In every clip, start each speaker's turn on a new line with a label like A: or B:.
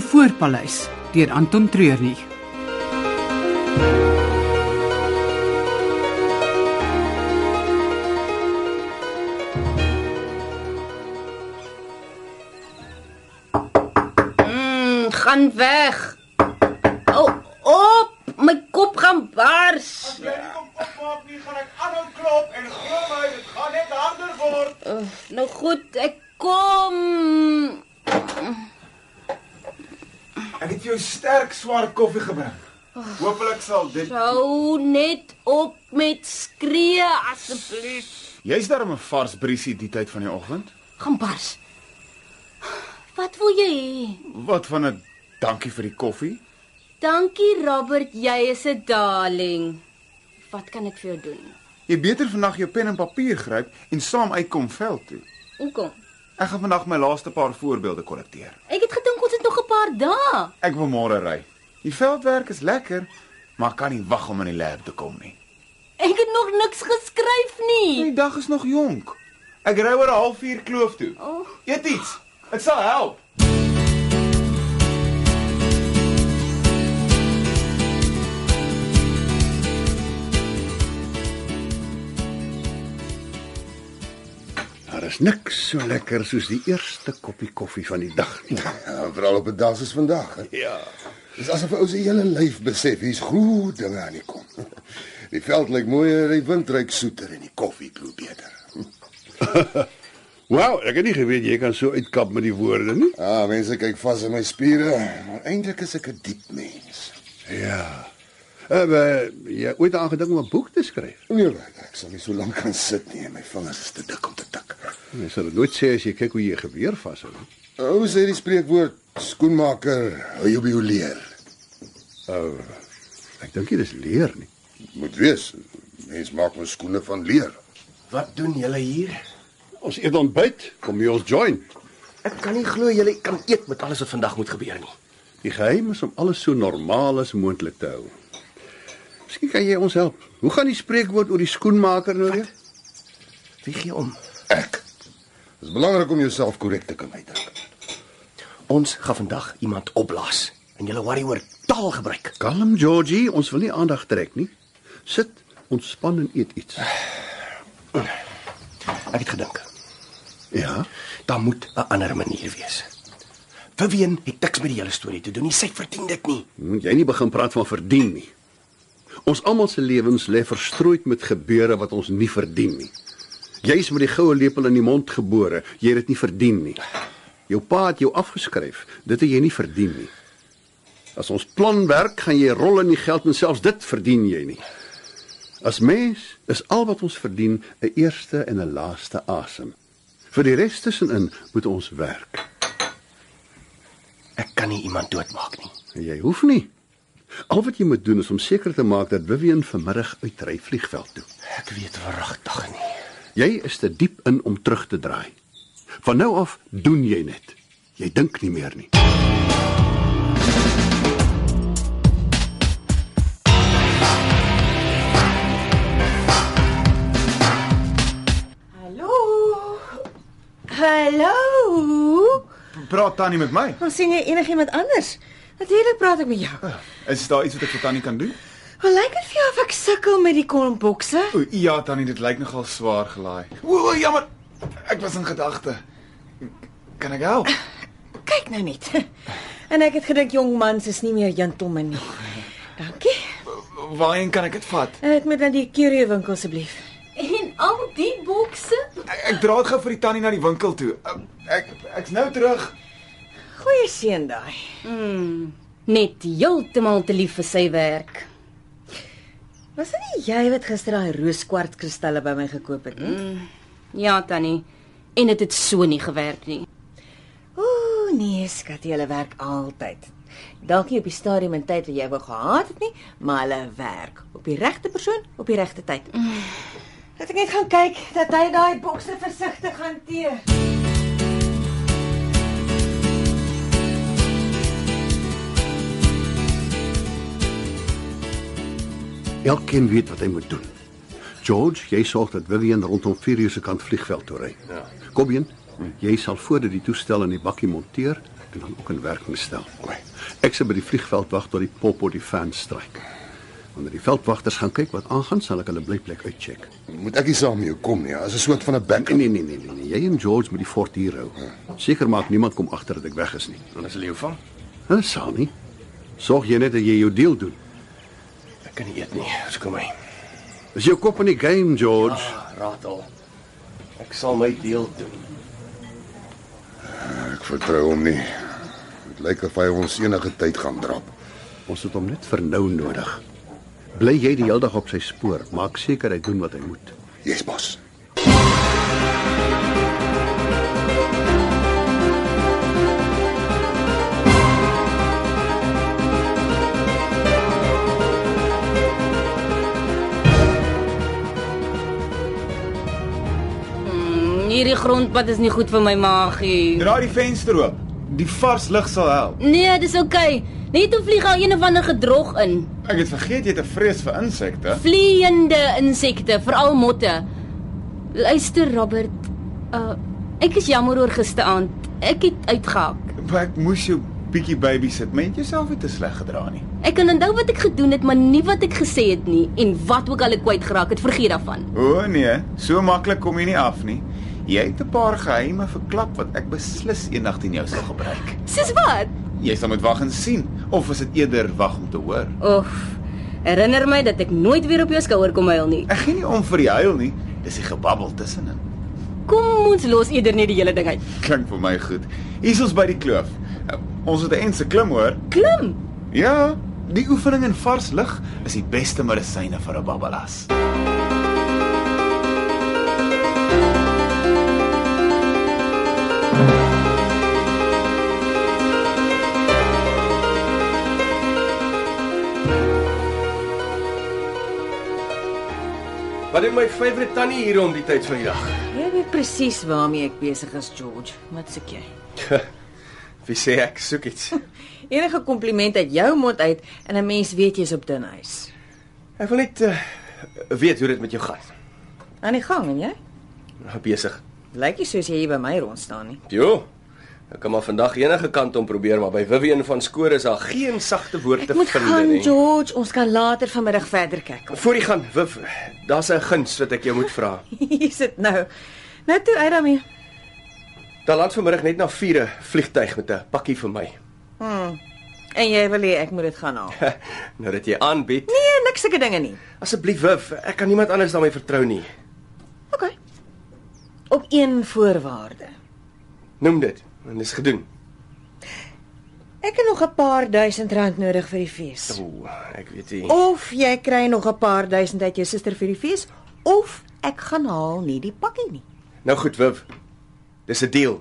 A: Spoorpaleis deur Anton Treurnig.
B: Mm, gaan weg. O, op, my kop gaan bars.
C: As jy nie kom opmaak nie, gaan ek aanhou klop en glo my, dit gaan net harder word.
B: Uh, nou goed, ek kom.
C: Ek het jou sterk swart koffie gebring. Hoopelik sal dit
B: Hou net op met skree asseblief.
C: Jy's darem 'n vars briesie die tyd van die oggend.
B: Gaan bars. Wat wil jy hê?
C: Wat van 'n dankie vir die koffie?
B: Dankie Robert, jy is 'n darling. Wat kan ek vir jou doen?
C: Jy beter vandag jou pen en papier gryp en saam uitkom veld toe.
B: Hoekom?
C: Ek gaan vandag my laaste paar voorbeelde kollekteer.
B: Ek het gedink ons het nog 'n paar dae.
C: Ek wil môre ry. Die veldwerk is lekker, maar ek kan nie wag om in die lab te kom nie.
B: Ek het nog niks geskryf nie.
C: Die dag is nog jonk. Ek ry oor 'n halfuur kloof toe.
B: Oh.
C: Eet iets. Dit sal help.
D: Daar is niks so lekker soos die eerste koppie koffie van die dag nie.
E: Ja, veral op 'n dag soos vandag. hè.
D: Ja.
E: Dis asof 'n ou se hele lyf besef hier's groot dinge aan die kom. Die veld lyk mooier, die wind ruik soeter en die koffie klou beter.
D: Wow, ek het nie geweet jy kan so uitkap met die woorde nie.
E: Ah, mense kyk vas in my spiere, maar eintlik is ek 'n diep mens.
D: Ja. Heb jy ooit aangedink om 'n boek te skryf?
E: Nee, werk, ek sal nie so lank kan sit nie, my vingers is te dik om te tik.
D: Jy sal dit nooit sê as jy kyk hoe jy geweer vashou nie.
E: Ou sê die spreekwoord skoenmaker hou jou by jou leer.
D: Ou. Ek dink dit is leer nie.
E: Moet wees, mens maak mos skoene van leer.
F: Wat doen julle hier?
D: Ons eet ontbyt, kom jy ons join.
F: Ek kan nie glo julle kan eet met alles wat vandag moet gebeur nie.
D: Die geheim is om alles so normaal as moontlik te hou. Miskien kan jy ons help. Hoe gaan die spreekwoord oor die skoenmaker nou weer?
F: Wie gee om?
E: Ek. Dit is belangrik om jouself korrek te kan uitdruk.
F: Ons gaan vandag iemand opblaas en julle worry oor taalgebruik.
D: Kalm, Georgie, ons wil nie aandag trek nie. Sit, ontspan en eet iets.
F: Ek het gedink,
D: Ja.
F: daar moet 'n ander manier wees. Vivian het niks met die hele storie te doen nie. Sy verdien dit nie.
D: Moet jy nie begin praat van verdien nie. Ons almal se lewens lê verstrooid met gebeure wat ons nie verdien nie. Jy's met die goue lepel in die mond gebore. Jy het dit nie verdien nie. Jou pa het jou afgeskryf. Dit het jy nie verdien nie. As ons plan werk, gaan jy rol in die geld en selfs dit verdien jy nie. As mens is al wat ons verdien 'n eerste en 'n laaste asem. Vir die res tussenin moet ons werk.
F: Ek kan nie iemand doodmaak nie.
D: En Jy hoef nie. Al wat jy moet doen is om seker te maak dat Vivian vanmiddag uitry vliegveld toe.
F: Ek weet verragtig nie.
D: Jy is te diep in om terug te draai. Van nou af doen jy net. Jy dink nie meer nie.
G: Hallo. Hallo.
C: Praat tannie met my.
G: Ons sien jy enigiemand anders? Natuurlik praat ek met jou.
C: Is daar iets wat ek vir tannie kan doen?
G: Wel lyk dit vir jou of ek sukkel met die kolmbokse?
C: O ja, tannie, dit lyk nogal swaar gelaai. O, o jammer. Ek was in gedagte. Kan ek help?
G: Kyk nou net. En ek het gedink jong mans is nie meer gentlemen nie. Dankie.
C: Waarheen kan ek dit vat?
G: Ek moet na die curio winkel asseblief.
B: En al die bokse?
C: Ek, ek dra dit gou vir die tannie na die winkel toe. Ehm, Ek ek's nou terug.
G: Goeie seën daai.
B: Net heeltemal te lief vir sy werk.
G: Was dit nie jy wat gister daai rooskwarts kristalle by my gekoop het nie?
B: Ja, Tannie. En dit het so nie gewerk nie.
G: Ooh, nee, skat, hulle werk altyd. Dalk nie op die stadium en tyd wat jy wou gehad het nie, maar hulle werk op die regte persoon op die regte tyd. Dat ek net gaan kyk dat hy daai bokse versigtig hanteer.
D: Elkeen weet wat hy moet doen. George, jy sorg dat Vivian rondom 4 uur se kant vliegveld toe ry. Ja. Kom in. Jy sal voordat die toestel in die bakkie monteer en dan ook in werking stel. Ek sal by die vliegveld wag tot die popo die fans stryk. Wanneer die veldwagters gaan kyk wat aangaan, sal ek hulle blyplek uitcheck.
E: Moet ek nie saam met jou kom nie, as 'n soort van 'n backup.
D: Nee nee nee nee, nee. jy en George moet die fort hier hou. Seker maak niemand kom agter dat ek weg is nie.
F: Dan is leeu van.
D: Hulle sal nie. Sorg jy net dat jy jou deel doen.
F: Ek kan nie eet nie. So kom my.
D: Is jou kop in die game, George?
F: Ah, Raad al. Ek sal my deel doen.
E: Ek vertrou hom nie. Dit lyk of hy ons enige tyd gaan drap.
D: Ons het hom net vir nou nodig. Bly jy die hele dag op sy spoor, maak seker hy doen wat hy moet.
E: Yes, boss.
B: Hierdie grondpad is nie goed vir my maagie.
C: Draai die venster oop. Die vars lug sal help.
B: Nee, dis oukei. Okay. Net toe vlieg al een of ander gedrog in.
C: Ek het vergeet jy het 'n vrees vir insekte.
B: Vleiende insekte, veral motte. Luister Robert, uh ek is jammer oor gisteraand. Ek het uitgehaak.
C: Maar ek moes jou bietjie baby sit. Maar jy het jouself nie te sleg gedra nie.
B: Ek kan onthou wat ek gedoen het, maar nie wat ek gesê het nie en wat ook al ek kwyt geraak het, vergeet daarvan.
C: O nee, so maklik kom jy nie af nie. Jy het 'n paar geheime verklap wat ek beslis eendag teen jou sal gebruik.
B: Soos wat?
C: Jy sal moet wag en sien of is dit eerder wag om te hoor.
B: Oef. Herinner my dat ek nooit weer op jou skouer kom huil nie.
C: Ek gee nie om vir die huil nie, dis die gebabbel tussenin.
B: Kom ons los eerder net die hele ding uit.
C: Klink vir my goed. Hier is ons by die kloof. Uh, Ons het 'n ense klim hoor.
B: Klim.
C: Ja, die oefening in vars lug is die beste medisyne vir 'n babbelas.
F: Wat doen my favourite tannie hier om die tyd van die dag?
G: Jy weet presies waarmee ek besig is, George. Wat soek jy?
F: Wie sê ek soek iets?
G: Enige kompliment uit jou mond uit en 'n mens weet jy's op dun ys.
F: Ek wil net uh, weet hoe dit met jou gaan.
G: Aan die gang en jy?
F: Nou besig.
G: Lyk nie soos jy hier by my rond staan nie.
F: Jo. Ek kan maar vandag enige kant om probeer, maar by Vivian van Skoor is daar geen sagte woord
G: Ek
F: te
G: moet
F: vind
G: gaan,
F: nie.
G: George. Ons kan later vanmiddag verder kyk.
F: Voor jy gaan, Wif, daar's 'n guns wat ek jou moet vra.
G: Hier sit nou. Nou toe uit daarmee.
F: Daar land vanmiddag net na 4 'n vliegtyg met 'n pakkie vir my.
G: Hmm. En jy wil hê ek moet dit gaan haal.
F: nou dat jy aanbied.
G: Nee, niks sulke dinge nie.
F: Asseblief, Wif, ek kan niemand anders daarmee vertrou nie.
G: OK. Op een voorwaarde.
F: Noem dit en dis gedoen.
G: Ek het nog 'n paar duisend rand nodig vir die fees.
F: O, ek weet nie.
G: Of jy kry nog 'n paar duisend uit jou suster vir die fees, of ek gaan haal nie die pakkie nie.
F: Nou goed, Wif. Dis 'n deal.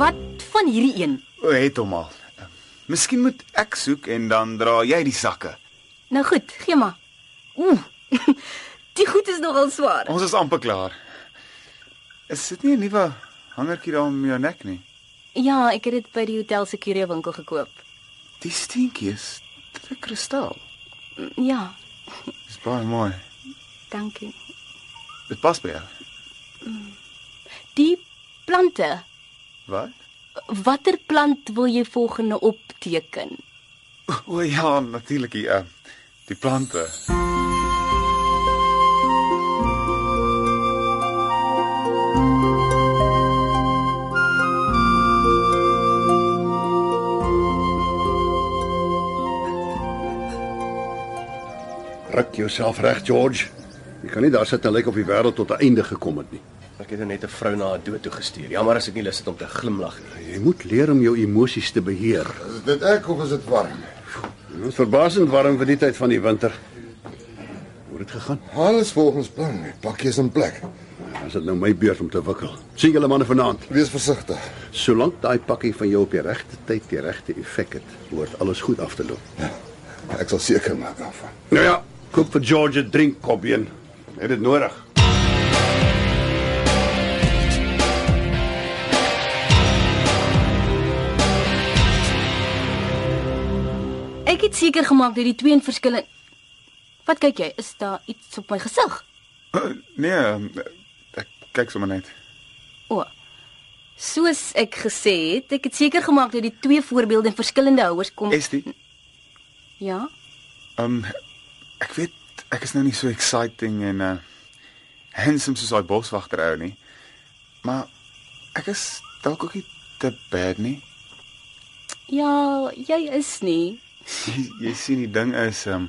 B: Wat van hierdie een?
C: O, het hom al. Miskien moet ek soek en dan dra jy die sakke.
B: Nou goed, gee maar. Ooh. Die goed is nogal swaar.
C: Ons is amper klaar. Is dit nie 'n nuwe hangertjie daar om jou nek nie?
B: Ja, ek het dit by die hotel se curio winkel gekoop.
C: Die steentjie is dit 'n kristal.
B: Ja,
C: Dis baie mooi.
B: dankie.
C: Dit pas by jou.
B: Die plante.
C: Wat?
B: Watter plant wil jy volgende opteken?
C: O ja, natuurlik die uh, die plante.
D: Ruk jouself reg, George. Jy kan nie daar sit en lyk of die wêreld tot 'n einde gekom het nie.
F: Ek het nou net 'n vrou na haar dood toe gestuur. Jammer as ek nie lus het om te glimlag nie.
D: Jy moet leer om jou emosies te beheer.
E: Is dit ek of is dit warm?
D: Dit is verbasend warm vir die tyd van die winter. Hoe het dit gegaan?
E: Alles volgens plan. Die pakkie is in plek.
D: As dit nou my beurt om te wikkel. Sien julle manne vanaand.
E: Wees versigtig.
D: Solank daai pakkie van jou op die regte tyd die regte effek het, hoort alles goed af te loop.
E: Ek sal seker maak daarvan.
D: Nou ja, koop vir George 'n drink kopbeen. Het dit nodig.
B: Ek het seker gemaak dat die twee in verskillende Wat kyk jy? Is daar iets op my gesig?
C: Nee, ehm, ek kyk sommer net.
B: O. Soos ek gesê het, ek het seker gemaak dat die twee voorbeelde in verskillende houers kom.
C: Estie,
B: Ja.
C: ehm ek weet ek is nou nie so exciting en uh handsome soos daai boswagter ou nie. Maar ek is dalk ook nie te bad nie.
B: Ja, jy is nie.
C: Jy, jy sien die ding is ehm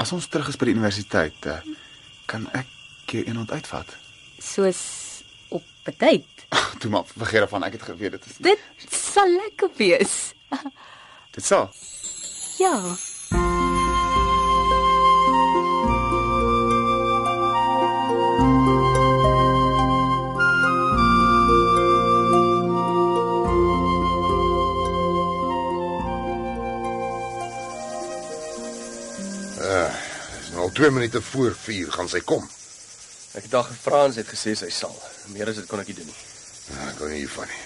C: as ons terug is by die universiteit, uh, kan ek jou eendag uitvat.
B: Soos op tyd.
C: Ag, toe maar, vergeet daarvan, ek het geweet dit is.
B: Dit sal lekker wees.
C: Dit sal.
B: Ja.
E: Dis nou al 2 minute voor 4 gaan sy kom.
F: Ek het haar gevra en sy het gesê sy sal. Meer as dit kon ek nie doen nie.
E: Nou, Ek kan nie hiervan nie.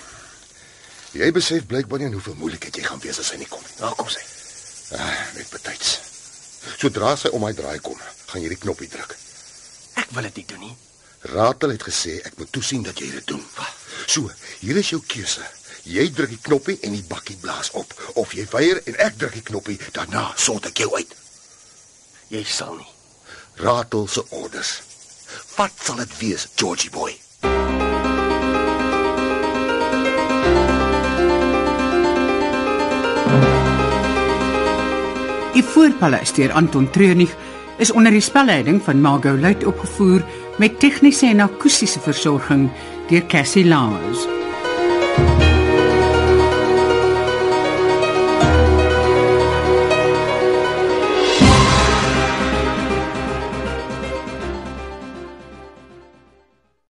E: Jy besef blykbaar nie in hoeveel moeilikheid jy gaan wees as sy nie kom nie.
F: Daar kom sy.
E: Ah, net betyds. Sodra sy om my draai kom, gaan jy die knoppie druk.
F: Ek wil dit nie doen nie.
E: Ratel het gesê ek moet toesien dat jy dit doen. So, hier is jou keuse. Jy druk die knoppie en die bakkie blaas op of jy weier en ek druk die knoppie, daarna sort ek jou uit.
F: Jy sal nie.
E: Ratel se orders. Wat sal dit wees, Georgie boy?
A: Die voorpaleis deur Anton Treurnig is onder die spelleiding van Margot Luit opgevoer met tegniese en akoestiese versorging deur Cassie Lawrence.